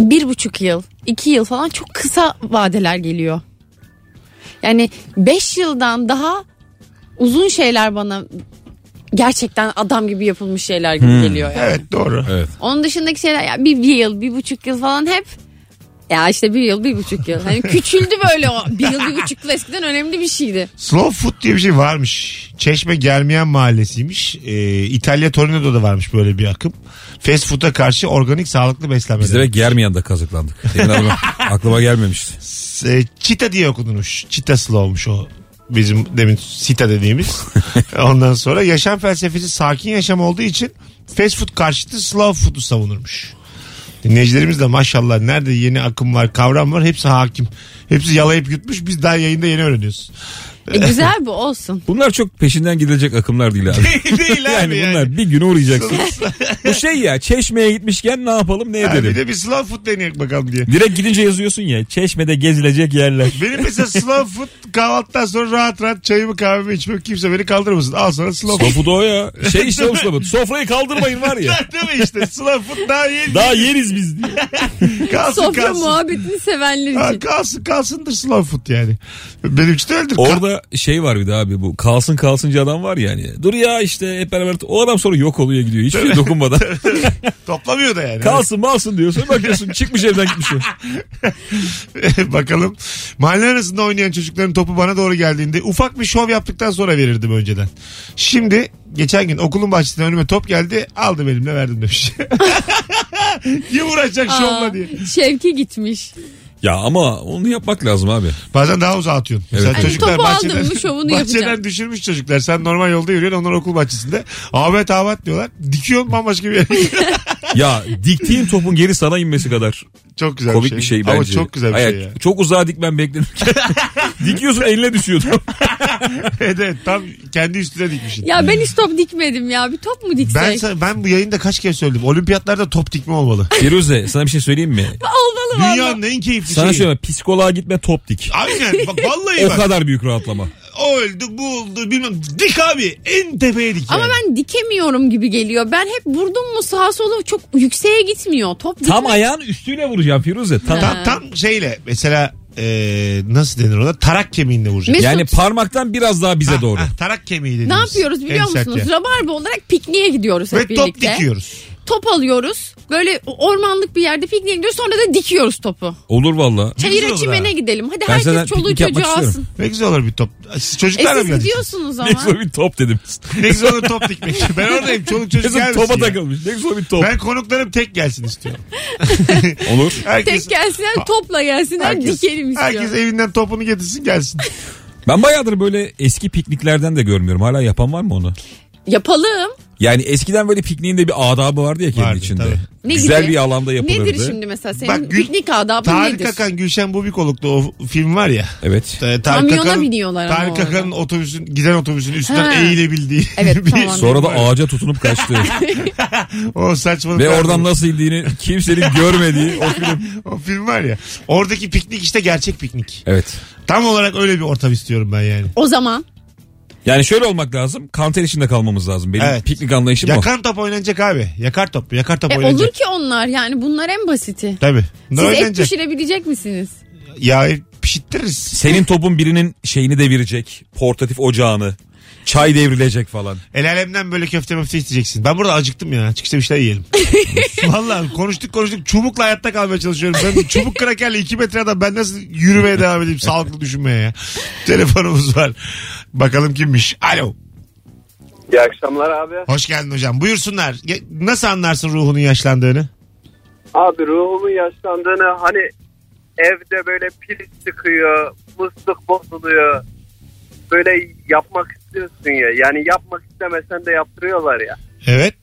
S4: bir buçuk yıl, iki yıl falan çok kısa vadeler geliyor. Yani beş yıldan daha uzun şeyler bana gerçekten adam gibi yapılmış şeyler gibi geliyor. Yani.
S2: Evet doğru.
S4: Onun dışındaki şeyler ya bir, bir yıl, bir buçuk yıl falan hep ya işte bir yıl, bir buçuk yıl. Hani küçüldü böyle o bir yıl, bir buçuk yıl eskiden önemli bir şeydi.
S2: Slow food diye bir şey varmış. Çeşme Gelmeyen Mahallesi'ymiş. Ee, İtalya Torino'da da varmış böyle bir akım. Fast food'a karşı organik sağlıklı beslenme.
S3: Biz direkt Germiyan'da kazıklandık. Senin aklıma, aklıma gelmemişti.
S2: e, Çita diye okunmuş. Çita slow'muş o bizim demin sita dediğimiz. Ondan sonra yaşam felsefesi sakin yaşam olduğu için fast food karşıtı slow food'u savunurmuş. Dinleyicilerimiz de maşallah nerede yeni akım var kavram var hepsi hakim. Hepsi yalayıp yutmuş biz daha yayında yeni öğreniyoruz.
S4: E, güzel bu olsun.
S3: Bunlar çok peşinden gidilecek akımlar değil abi.
S2: Değil abi
S3: yani,
S2: yani.
S3: bunlar bir gün uğrayacaksın. Bu şey ya çeşmeye gitmişken ne yapalım ne
S2: Ha,
S3: edelim.
S2: bir de bir slow food deneyek bakalım diye.
S3: Direkt gidince yazıyorsun ya çeşmede gezilecek yerler.
S2: Benim mesela slow food kahvaltıdan sonra rahat rahat çayımı kahvemi içmem kimse beni kaldırmasın. Al sana slow food.
S3: Topu da o ya. Şey işte o slogan. Sofrayı kaldırmayın var ya.
S2: Değil mi işte slow food daha yeni.
S3: Daha yeriz biz diye.
S2: kalsın
S4: Sofra
S2: kalsın.
S4: muhabbetini sevenler
S2: Ha,
S4: için.
S2: kalsın kalsındır slow food yani. Benim için de öyledir.
S3: Orada şey var bir de abi bu kalsın kalsıncı adam var yani. Dur ya işte hep beraber o adam sonra yok oluyor gidiyor. Hiçbir şey dokunmadan.
S2: Ka- toplamıyor da yani.
S3: kalsın malsın diyor. Sonra bakıyorsun çıkmış evden gitmiş. o.
S2: Bakalım. Mahalle arasında oynayan çocukların topu bana doğru geldiğinde ufak bir şov yaptıktan sonra verirdim önceden. Şimdi geçen gün okulun bahçesinden önüme top geldi aldım elimle verdim demiş. Kim uğraşacak şovla
S4: Aa,
S2: diye.
S4: Şevki gitmiş.
S3: Ya ama onu yapmak lazım abi.
S2: Bazen daha uzağa atıyorsun.
S3: Evet.
S2: Mesela
S3: Hani
S2: çocuklar
S4: topu aldın
S2: bahçeden,
S4: mı şovunu
S2: bahçeden
S4: yapacaksın.
S2: düşürmüş çocuklar. Sen normal yolda yürüyorsun onlar okul bahçesinde. Ahmet Ahmet diyorlar. Dikiyorsun bambaşka bir yere.
S3: Ya diktiğin topun geri sana inmesi kadar
S2: çok güzel
S3: komik
S2: bir şey.
S3: bir şey bence.
S2: Ama çok güzel bir
S3: Hayır,
S2: şey ya.
S3: Çok uzağa dikmen beklenirken. Dikiyorsun eline düşüyor top.
S2: evet, evet, tam kendi üstüne dikmişsin.
S4: Ya şey- ben hiç top dikmedim ya. Bir top mu diksek?
S2: ben, sa- ben bu yayında kaç kere söyledim. Olimpiyatlarda top dikme olmalı.
S3: Firuze sana bir şey söyleyeyim mi?
S4: Olmalı valla.
S2: Dünyanın en keyifli
S3: Sana
S2: şeyi.
S3: şöyle psikoloğa gitme top dik.
S2: Aynen. Bak, vallahi
S3: O
S2: şey. bak.
S3: kadar büyük rahatlama.
S2: O öldü bu oldu bilmem. Dik abi. En tepeye dik.
S4: Ama
S2: yani.
S4: ben dikemiyorum gibi geliyor. Ben hep vurdum mu sağa sola çok yükseğe gitmiyor. Top dik.
S3: Tam ayağın üstüyle vuracağım Firuze. Tam.
S2: Tam, tam şeyle mesela e, nasıl denir ona? Tarak kemiğinle vuracak.
S4: Mesut.
S3: Yani parmaktan biraz daha bize doğru.
S2: Ah, tarak kemiği dediğimiz.
S4: Ne yapıyoruz biliyor
S2: en sert
S4: musunuz?
S2: yer.
S4: Rabarba olarak pikniğe gidiyoruz hep
S2: Ve
S4: birlikte.
S2: top dikiyoruz.
S4: Top alıyoruz. Böyle ormanlık bir yerde pikniğe gidiyoruz. Sonra da dikiyoruz topu.
S3: Olur valla.
S2: olur
S4: Çayıra
S2: ha.
S4: çimene gidelim. Hadi
S3: Ben zaten
S4: herkes çoluğu
S3: piknik yapmak
S4: çocuğu
S3: istiyorum.
S4: alsın.
S2: Ne güzel olur bir top. Siz
S4: E
S2: çocuklarla mı
S4: siz
S2: geldiniz?
S4: gidiyorsunuz ama.
S3: Ne güzel bir top dedim.
S2: Ne güzel olur top dikmek. Ben oradayım. Çoluk çocuk
S3: Kesin
S2: gelmesin.
S3: topa
S2: ya.
S3: takılmış. Ne güzel bir top.
S2: Ben konuklarım tek gelsin istiyorum.
S3: Olur.
S2: Herkes,
S4: Tek gelsinler topla gelsinler
S2: herkes,
S4: dikelim istiyor.
S2: herkes evinden topunu getirsin gelsin.
S3: Ben bayağıdır böyle eski pikniklerden de görmüyorum. Hala yapan var mı onu?
S4: Yapalım.
S3: Yani eskiden böyle pikniğin de bir adabı vardı ya kendi
S2: Vardı,
S3: içinde.
S2: tabii.
S4: Ne
S3: Güzel
S4: gibi?
S3: bir alanda yapılırdı.
S4: Nedir şimdi mesela senin
S2: Bak, Gül-
S4: piknik adabı
S2: Tarık
S4: nedir?
S2: Akan, Gülşen Bubikoluk'ta o film var ya.
S3: Evet.
S2: E,
S4: Kamyona biniyorlar ama
S2: Tarık
S4: orada.
S2: Akan'ın otobüsün, giden otobüsün üstünden
S4: Ha.
S2: eğilebildiği.
S4: Evet, tamam.
S3: Sonra da ağaca tutunup kaçtı.
S2: O saçmalık.
S3: Ve oradan nasıl indiğini kimsenin görmediği o film.
S2: O film var ya. Oradaki piknik işte gerçek piknik.
S3: Evet.
S2: Tam olarak öyle bir ortam istiyorum ben yani.
S4: O zaman
S3: Yani şöyle olmak lazım. Kanter içinde kalmamız lazım. Benim
S2: Evet.
S3: piknik anlayışım o.
S2: Yakar top oynanacak abi. Yakar top. Yakar top
S4: E,
S2: oynanacak.
S4: olur ki onlar yani bunlar en basiti.
S2: Tabii. Ne
S4: Siz et
S2: oynanacak?
S4: pişirebilecek misiniz?
S2: Ya pişittiririz.
S3: Senin topun birinin şeyini devirecek. Portatif ocağını. Çay devrilecek falan.
S2: El alemden böyle köfte möfte isteyeceksin. Ben burada acıktım ya. Çıkışta bir şeyler yiyelim. Vallahi konuştuk konuştuk. Çubukla hayatta kalmaya çalışıyorum. Ben bu çubuk krakerle 2 metre adam ben nasıl yürümeye devam edeyim sağlıklı düşünmeye ya. Telefonumuz var. Bakalım kimmiş. Alo.
S5: İyi akşamlar abi.
S2: Hoş geldin hocam. Buyursunlar. Ge- Nasıl anlarsın ruhunun yaşlandığını?
S5: Abi ruhumun yaşlandığını hani evde böyle pil çıkıyor, musluk bozuluyor. Böyle yapmak istiyorsun ya. Yani yapmak istemesen de yaptırıyorlar ya.
S2: Evet.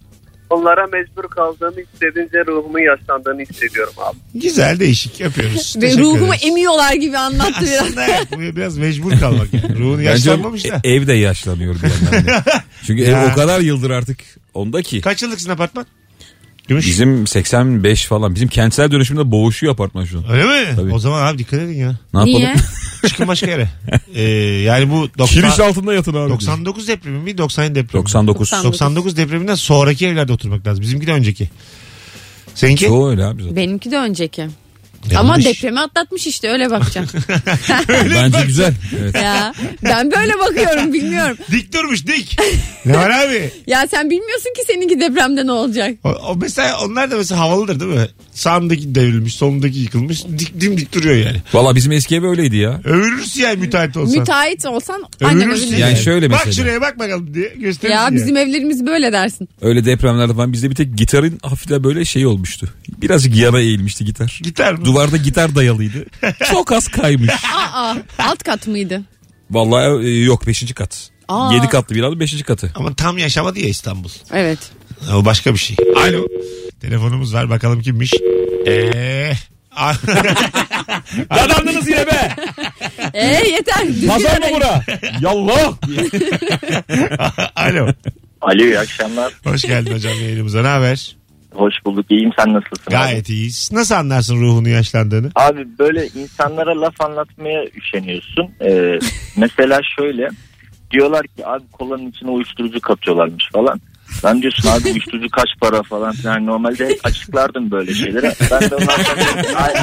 S5: Onlara mecbur kaldığımı hissedince ruhumun yaşlandığını hissediyorum abi.
S2: Güzel değişik yapıyoruz.
S4: Ve
S2: Teşekkür
S4: ruhumu
S2: ederiz.
S4: emiyorlar gibi anlattı biraz.
S2: Aslında evet, bu biraz mecbur kalmak. Yani. Ruhun yaşlanmamış da.
S3: Bence e, ev de yaşlanıyor bir yandan da. Çünkü
S2: Ya.
S3: ev o kadar yıldır artık onda ki.
S2: Kaç yıllıksın apartman? Gümüş.
S3: Bizim 85 falan. Bizim kentsel dönüşümde boğuşuyor apartman şu an.
S2: Öyle mi?
S3: Tabii.
S2: O zaman abi dikkat edin ya.
S3: Ne yapalım?
S4: Niye?
S2: Çıkın başka yere. Ee, yani bu 90,
S3: Kiriş altında yatın abi.
S2: 99 depremi mi 97 depremi mi?
S3: 99.
S4: 90.
S2: 99 depreminden sonraki evlerde oturmak lazım. Bizimki de önceki. Seninki?
S3: Çoğu öyle abi zaten.
S4: Benimki de önceki. Ama
S2: Yanlış.
S4: depremi atlatmış işte öyle bakacağım.
S3: Bence güzel. Evet.
S4: ya ben böyle bakıyorum bilmiyorum.
S2: Dik durmuş dik. ne var abi?
S4: Ya sen bilmiyorsun ki seninki depremde ne olacak.
S2: O, o mesela onlar da mesela havalıdır değil mi? Sağındaki devrilmiş, solundaki yıkılmış. Dik dimdik duruyor yani.
S3: Valla bizim eski ev öyleydi ya.
S2: Övülürsün yani müteahhit olsan.
S4: Müteahhit olsan annem
S2: Övülürsün
S4: övünür.
S3: yani. şöyle
S2: Bak
S3: mesela.
S2: şuraya bak bakalım diye gösterirsin.
S4: Ya
S2: yani.
S4: bizim evlerimiz böyle dersin.
S3: Öyle depremlerde falan bizde bir tek gitarın hafif de böyle şey olmuştu. Birazcık yana eğilmişti gitar.
S2: Gitar mı?
S3: Duvarda gitar dayalıydı. Çok az kaymış.
S4: Aa alt kat mıydı?
S3: Vallahi e, yok 5. kat.
S4: Aa.
S3: 7 katlı binanın 5. katı.
S2: Ama tam yaşamadı ya İstanbul.
S4: Evet.
S2: O başka bir Ee, şey. Alo. Telefonumuz var bakalım kimmiş. Eee.
S3: Dadandınız yine be.
S4: Ee yeter. Düzgün
S3: Pazar mı
S4: arayın.
S3: bura? Yallah.
S2: Alo.
S9: Alo iyi akşamlar.
S2: Hoş geldin hocam yayınımıza. Ne haber?
S9: Hoş bulduk. İyiyim sen nasılsın?
S2: Gayet iyiyiz. Nasıl anlarsın ruhunu yaşlandığını?
S9: Abi, Abi böyle insanlara laf anlatmaya üşeniyorsun. Ee, mesela şöyle diyorlar ki abi kolanın içine uyuşturucu katıyorlarmış falan. Ben diyorsun abi uyuşturucu kaç para falan filan. Normalde hep açıklardım böyle şeylere. Ben de ondan sonra diyorum ki, "Ay,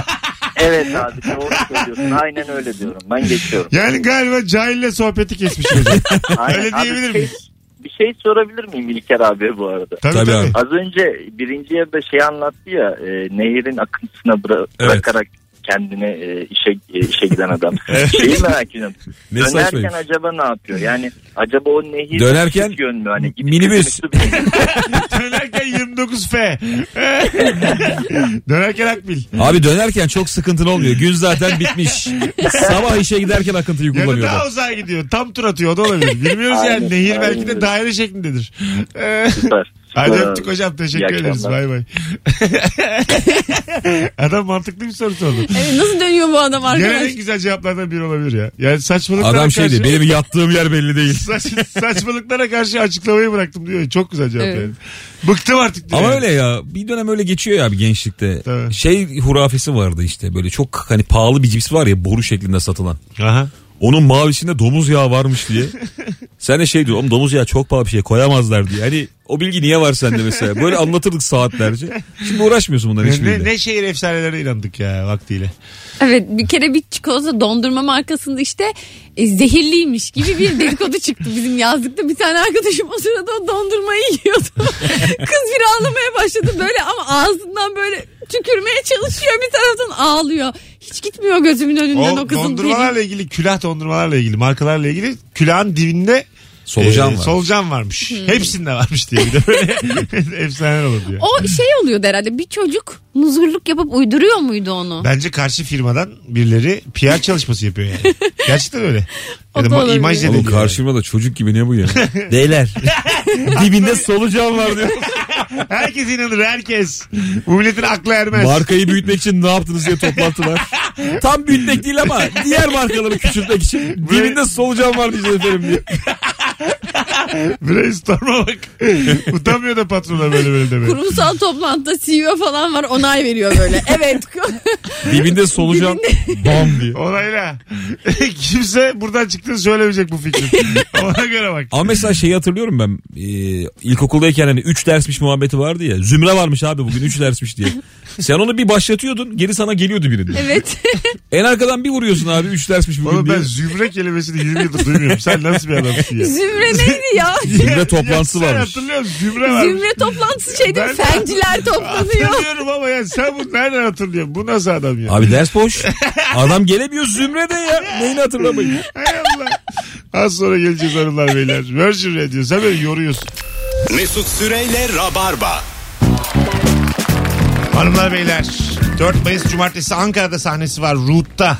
S9: evet abi doğru söylüyorsun. Aynen öyle diyorum. Ben geçiyorum.
S2: Yani galiba cahille sohbeti kesmiş hocam.
S9: Aynen.
S2: Öyle
S9: Abi,
S2: diyebilir
S9: bir şey-
S2: miyiz?
S9: Bir şey sorabilir miyim İlker abi bu arada?
S2: Tabii tabii.
S3: Tabii abi.
S9: Az önce birinci yarıda şey anlattı ya e, nehirin akıntısına bıra- bırakarak kendini e, işe e, işe giden adam. Şeyi merak ediyorum.
S3: Ne
S9: Dönerken
S3: saçmaymış.
S9: acaba ne yapıyor? Yani acaba o nehir
S3: Dönerken
S9: çift yönlü hani gidip
S3: minibüs.
S9: gitmesi bir-
S2: Dönerken 29 F. Dönerken Akbil.
S3: Abi dönerken çok sıkıntın olmuyor. Gün zaten bitmiş. Sabah işe giderken akıntıyı
S2: Ya da
S3: kullanıyor.
S2: daha
S3: adam.
S2: uzağa gidiyor. Tam tur atıyor. O da olabilir. Bilmiyoruz yani.
S9: Aynen,
S2: Nehir
S9: aynen
S2: belki de
S9: öyle.
S2: daire şeklindedir.
S9: Süper.
S2: Hadi
S9: Süper
S2: öptük
S9: abi.
S2: hocam. Teşekkür
S9: İyi
S2: ederiz.
S9: akşamlar.
S2: Bay bay. Adam mantıklı bir soru sordu.
S4: Evet, nasıl dönüyor bu adam
S2: Genel
S4: arkadaş?
S2: en güzel cevaplardan biri olabilir ya. Yani saçmalıklara
S3: Adam
S2: karşı...
S3: şey diyor benim yattığım yer belli değil.
S2: Saç, saçmalıklara karşı açıklamayı bıraktım diyor. Çok güzel cevap
S4: Evet.
S2: yani. Bıktım artık diyor.
S3: Ama
S2: yani.
S3: öyle ya bir dönem öyle geçiyor ya abi gençlikte.
S2: Tabii.
S3: Şey hurafesi vardı işte böyle çok hani pahalı bir cips var ya boru şeklinde satılan.
S2: Aha.
S3: Onun mavisinde domuz yağı varmış diye. Sen de şey diyor oğlum domuz yağı çok pahalı bir şey koyamazlar diye. Hani o bilgi niye var sende mesela? Böyle anlatırdık saatlerce. Şimdi uğraşmıyorsun bunların
S2: Ne,
S3: hiçbiriyle.
S2: ne, ne şehir efsanelerine inandık ya vaktiyle.
S4: Evet bir kere bir çikolata dondurma markasında işte e, zehirliymiş gibi bir dedikodu çıktı bizim yazlıkta. Bir tane arkadaşım o sırada o dondurmayı yiyordu. Kız bir ağlamaya başladı böyle ama ağzından böyle tükürmeye çalışıyor bir taraftan ağlıyor. Hiç gitmiyor gözümün önünden o,
S2: O
S4: kızın
S2: dondurmalarla
S4: dili.
S2: ilgili külah dondurmalarla ilgili markalarla ilgili külahın dibinde
S3: Solucan
S2: e,
S3: var.
S2: solucan varmış.
S4: Hmm.
S2: Hepsinde varmış diye bir de böyle efsane olur diyor.
S4: O şey oluyordu herhalde bir çocuk muzurluk yapıp uyduruyor muydu onu?
S2: Bence karşı firmadan birileri PR çalışması yapıyor yani. Gerçekten öyle.
S4: O
S2: Ya da
S4: da
S2: ma-
S4: olabilir.
S2: imaj
S4: Oğlum
S3: Oğlum
S2: nedeniyle.
S3: karşıma da çocuk gibi ne bu ya? Beyler. Dibinde solucan var diyor.
S2: Herkes inanır herkes. Bu milletin aklı ermez.
S3: Markayı büyütmek için ne yaptınız diye toplantılar. Tam büyütmek değil ama diğer markaları küçültmek için dibinde solucan var diyeceğiz efendim diye.
S2: Brainstorm'a bak. Utanmıyor da patronlar böyle böyle demeye.
S4: Kurumsal toplantıda CEO falan var onay veriyor böyle. Evet.
S3: Dibinde solucan bam diye.
S2: Orayla. Kimse buradan çıktığını söylemeyecek bu fikrin. Ona göre bak.
S3: Ama mesela şeyi hatırlıyorum ben. Ee, ilkokuldayken hani 3 dersmiş muhabbeti vardı ya. Zümre varmış abi bugün 3 dersmiş diye. Sen onu bir başlatıyordun geri sana geliyordu birinde.
S4: evet.
S3: En arkadan bir vuruyorsun abi 3 dersmiş bugün
S2: Oğlum ben
S3: diye.
S2: zümre kelimesini 20 yıldır duymuyorum. Sen nasıl bir adamsın ya?
S4: Zümre neydi ya?
S3: Zümre toplantısı
S2: ya sen
S3: varmış.
S2: hatırlıyor musun? Zümre varmış.
S4: Zümre toplantısı şey değil mi?
S2: Ben-
S4: Fenciler toplanıyor.
S2: Hatırlıyorum ama ya sen bunu nereden hatırlıyorsun? Bu nasıl adam ya?
S3: Abi ders boş. Adam gelemiyor Zümre'de ya. Neyini hatırlamayın.
S2: Hay Allah. Az sonra geleceğiz hanımlar beyler. Virgin Radio sen beni yoruyorsun.
S1: Mesut Süreyle Rabarba.
S2: Hanımlar beyler 4 Mayıs Cumartesi Ankara'da sahnesi var Root'ta.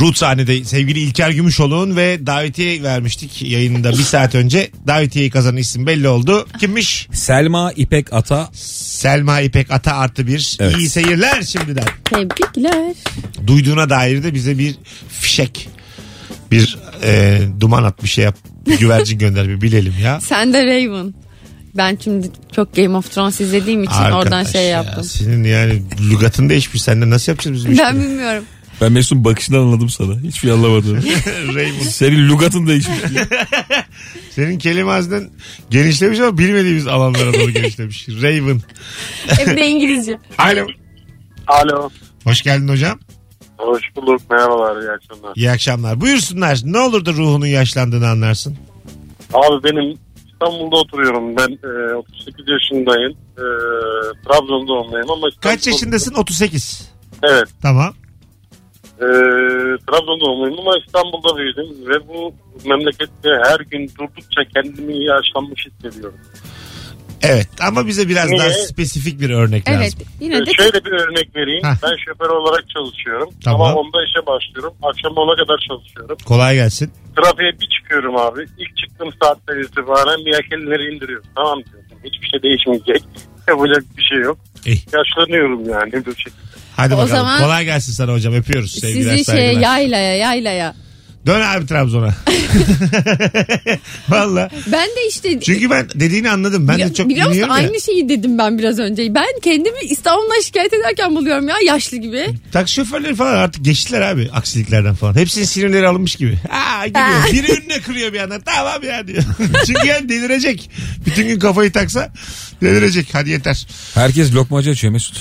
S2: Root sahnede sevgili İlker Gümüşoğlu'nun ve davetiye vermiştik yayında bir saat önce. Davetiyeyi kazanan isim belli oldu. Kimmiş?
S3: Selma İpek Ata
S2: Selma İpek Ata artı bir.
S3: Evet.
S2: İyi seyirler şimdiden.
S4: Tebrikler.
S2: Duyduğuna dair de bize bir fişek, bir e, duman at bir şey yap. bir Güvercin gönder bir bilelim ya.
S4: Sen de Raven. Ben şimdi çok Game of Thrones izlediğim için oradan
S2: Arkadaş
S4: şey
S2: ya,
S4: yaptım.
S2: Senin yani lügatın değişmiş. Sen de nasıl yapacağız biz bu
S4: Ben
S2: işleri?
S4: bilmiyorum.
S3: Ben Mesut'un bakışından anladım sana. Hiçbir şey anlamadım.
S2: Raymond.
S3: Senin lugatın değişmiş.
S2: Senin kelime haznen genişlemiş ama bilmediğimiz alanlara doğru genişlemiş. Raven.
S4: Hep de İngilizce.
S2: Alo.
S5: Alo.
S2: Hoş geldin hocam.
S5: Hoş bulduk. Merhabalar. iyi akşamlar.
S2: İyi akşamlar. Buyursunlar. Ne olur da ruhunun yaşlandığını anlarsın.
S5: Abi benim İstanbul'da oturuyorum. Ben e, 38 yaşındayım. E, Trabzon doğumluyum ama...
S2: Kaç
S5: İstanbul'da-
S2: yaşındasın? 38.
S5: Evet.
S2: Tamam.
S5: E, Trabzon doğumluyum ama İstanbul'da büyüdüm. Ve bu memlekette her gün durdukça kendimi yaşlanmış hissediyorum.
S2: Evet ama bize biraz daha
S5: Niye?
S2: spesifik bir örnek
S4: Evet
S2: lazım.
S5: E,
S4: yine de
S5: şöyle bir örnek vereyim.
S2: Heh.
S5: Ben şoför olarak çalışıyorum.
S2: Tamam.
S5: Sabah 10'da işe başlıyorum. Akşam 10'a kadar çalışıyorum.
S2: Kolay gelsin.
S5: Trafiğe bir çıkıyorum abi. İlk çıktığım saatten itibaren miyakelleri indiriyorum. Tamam diyorsun. Hiçbir şey değişmeyecek. Yapacak bir şey yok.
S2: Eh.
S5: Yaşlanıyorum yani bu şekilde.
S2: Hadi
S4: O
S2: bakalım.
S4: zaman-
S2: Kolay gelsin sana hocam. Öpüyoruz. Sevgiler,
S4: Sizi şey
S2: saygılar.
S4: yaylaya yaylaya.
S2: Dön abi Trabzon'a. Valla.
S4: Ben de işte
S2: Çünkü ben dediğini anladım. Ben de
S4: Bili-
S2: çok
S4: biliyor musun
S2: dinliyorum ya.
S4: aynı şeyi dedim ben biraz önce. Ben kendimi İstanbul'dan şikayet ederken buluyorum ya yaşlı gibi.
S2: Taksi şoförleri falan artık geçtiler abi aksiliklerden falan. Hepsinin sinirleri alınmış gibi. Aa giriyor.
S4: Ha.
S2: Biri önüne kırıyor bir yandan. Tamam ya diyor. Çünkü yani delirecek. Bütün gün kafayı taksa delirecek. Hadi yeter.
S3: Herkes lokmacı açıyor Mesut.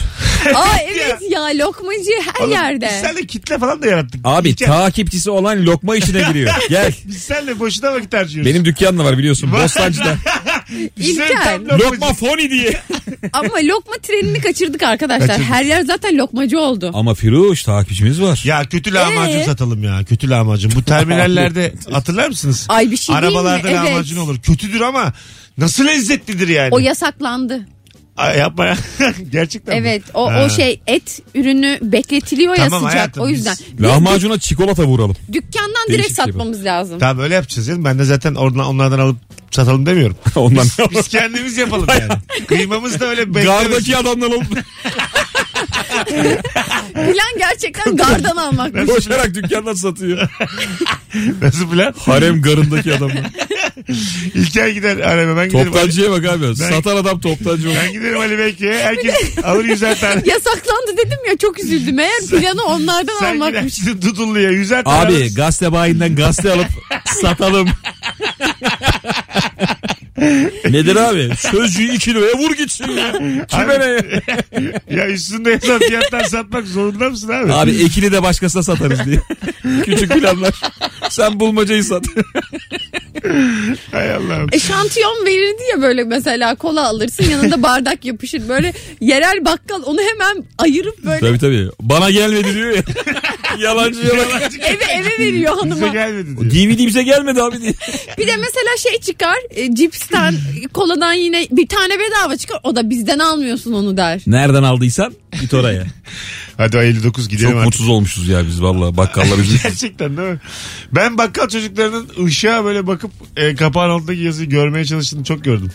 S4: Aa evet ya lokmacı her
S2: Oğlum,
S4: yerde.
S2: Biz senle kitle falan da yarattık.
S3: Abi
S2: İlker,
S3: takipçisi olan lokma işine giriyor. Gel.
S2: Biz senle boşuna vakit harcıyoruz.
S3: Benim dükkan da var biliyorsun.
S2: Var.
S3: Bostancı'da.
S2: Biz seninle
S4: İlker.
S2: tam lokmacı-
S3: Lokma foni diye.
S4: Ama lokma trenini kaçırdık arkadaşlar.
S2: Kaçırdık.
S4: Her yer zaten lokmacı oldu.
S3: Ama Firuş takipçimiz var.
S2: Ya kötü lahmacun
S4: Ee?
S2: satalım ya. Kötü lahmacun. Bu terminallerde hatırlar mısınız?
S4: Ay bir şey
S2: Arabalarda
S4: değil mi? Evet.
S2: lahmacun olur. Kötüdür ama nasıl lezzetlidir yani.
S4: O yasaklandı.
S2: Ay, yapma ya. Gerçekten mi?
S4: Evet o,
S2: Ha.
S4: o şey et ürünü bekletiliyor ya
S2: Tamam
S4: sıcak
S2: hayatım,
S4: o yüzden.
S2: biz-
S4: Biz
S3: Lahmacuna çikolata vuralım.
S4: dük- dükkandan direkt
S3: Değişik şey bu.
S4: satmamız lazım.
S2: Tamam öyle yapacağız canım. Ben de zaten oradan, onlardan alıp satalım demiyorum.
S3: Ondan ne
S2: Biz kendimiz yapalım yani. Kıymamız da öyle beklemesin.
S3: Gardaki adamdan alıp
S4: Plan gerçekten gardan almak.
S3: koşarak dükkandan satıyor.
S2: Nasıl plan?
S3: Harem garındaki adamdan.
S2: İlker gider arama ben giderim. Ali-
S3: Toptancıya bak abi. Satan adam toptancı olur.
S2: Ben giderim Ali Beyki'ye. Herkes alır yüzer tane.
S4: Yasaklandı dedim ya çok üzüldüm. Eğer planı onlardan
S2: Sen
S4: almakmış.
S2: gidersin Dudullu'ya yüzer tane
S3: Abi
S2: alırsın.
S3: gazete bayinden gazete alıp satalım. Nedir abi? Sözcüğü 2 liraya vur gitsin ya. Kime ne ya?
S2: Ya üstünde yazan fiyattan satmak zorunda mısın abi?
S3: Abi ekini de başkasına satarız diye. Küçük planlar. Sen bulmacayı sat.
S2: Hay Allah'ım.
S4: E şantiyon verirdi ya böyle mesela kola alırsın yanında bardak yapışır böyle yerel bakkal onu hemen ayırıp böyle
S3: tabii tabii. Bana gelmedi diyor ya. Yalancı yalancı.
S4: eve eve veriyor
S2: Bize
S4: hanıma.
S2: gelmedi diyor.
S3: DVD bize gelmedi abi diye.
S4: Bir de mesela şey çıkar e, cipsten e, koladan yine bir tane bedava çıkar o da bizden almıyorsun onu der.
S3: Nereden aldıysan git oraya.
S2: Hadi o 59 gidelim
S3: Çok
S2: artık.
S3: mutsuz olmuşuz ya biz valla. Bakkallar üzüldü.
S2: Gerçekten değil mi? Ben bakkal çocuklarının ışığa böyle bakıp e, kapağın altındaki yazıyı görmeye çalıştığını çok gördüm.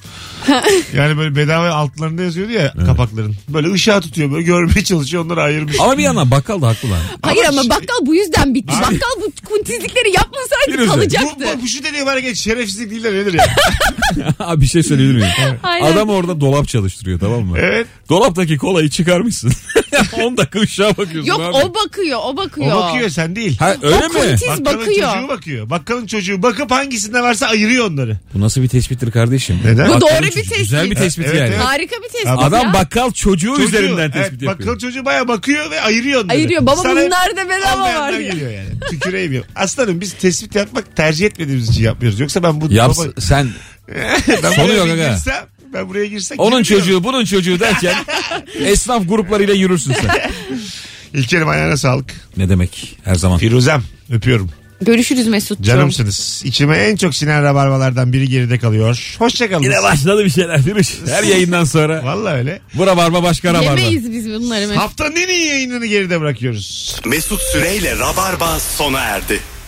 S2: yani böyle bedava altlarında yazıyordu ya kapakların. Böyle ışığa tutuyor böyle görmeye çalışıyor onları ayırmış.
S3: Ama bir yandan bakkal da haklı lan.
S4: Hayır ama,
S2: şey-
S4: bakkal bu yüzden bitti. Bakkal bu kuntizlikleri yapmasaydı
S3: Firuze,
S2: bu,
S4: kalacaktı.
S2: bu, bu şu dediği bana geç şerefsizlik değil de nedir ya?
S3: Abi bir şey söyleyebilir miyim?
S4: Aynen.
S3: Adam orada dolap çalıştırıyor tamam mı?
S2: evet.
S3: Dolaptaki kolayı çıkarmışsın. 10 dakika uşağa bakıyorsun
S4: Yok
S3: abi.
S4: o bakıyor o bakıyor.
S2: O bakıyor sen değil.
S3: Ha, öyle
S4: O
S3: mi?
S4: kuntiz- Biz
S2: Bakkalın
S4: bakıyor.
S2: çocuğu bakıyor. Bakkalın çocuğu bakıp hangisinde varsa ayırıyor onları.
S3: Bu nasıl bir tespittir kardeşim?
S2: Neden?
S4: Bu
S3: Bakkalın
S4: doğru bir
S3: çocuğu.
S4: tespit.
S3: Güzel bir tespit
S2: Evet,
S3: yani.
S2: evet.
S4: Harika bir tespit
S3: Adam
S4: ya.
S3: bakkal çocuğu,
S2: Çocuğu,
S3: üzerinden
S2: evet,
S3: tespit yapıyor.
S2: Bakkalın çocuğu baya bakıyor ve ayırıyor onları.
S4: Ayırıyor. Baba
S2: Sana-
S4: bunlar da bedava var
S2: Olmayanlar
S4: diye.
S2: geliyor yani. Tüküreyim ya. Aslanım biz tespit yapmak tercih etmediğimiz için yapmıyoruz. Yoksa ben bu
S3: Yaps-
S2: baba-
S3: sen
S2: ben
S3: Sonu
S2: buraya
S3: yok
S2: bir
S3: aga.
S2: girsem, ben buraya girsem
S3: onun
S2: girmiyorum.
S3: çocuğu bunun çocuğu derken esnaf gruplarıyla yürürsün sen.
S2: İlker'im ayağına sağlık.
S3: Ne demek her zaman.
S2: Firuzem öpüyorum.
S4: Görüşürüz Mesut'cum.
S2: Canımsınız. İçime en çok sinen rabarbalardan biri geride kalıyor. Hoşçakalın.
S3: Yine başladı bir şeyler Firuş. Her yayından sonra.
S2: Valla öyle.
S3: Bu rabarba başka rabarba.
S4: Yemeyiz biz bunları Mesut.
S2: Haftanın en iyi yayınını geride bırakıyoruz.
S1: Mesut Süreyle Rabarba sona erdi.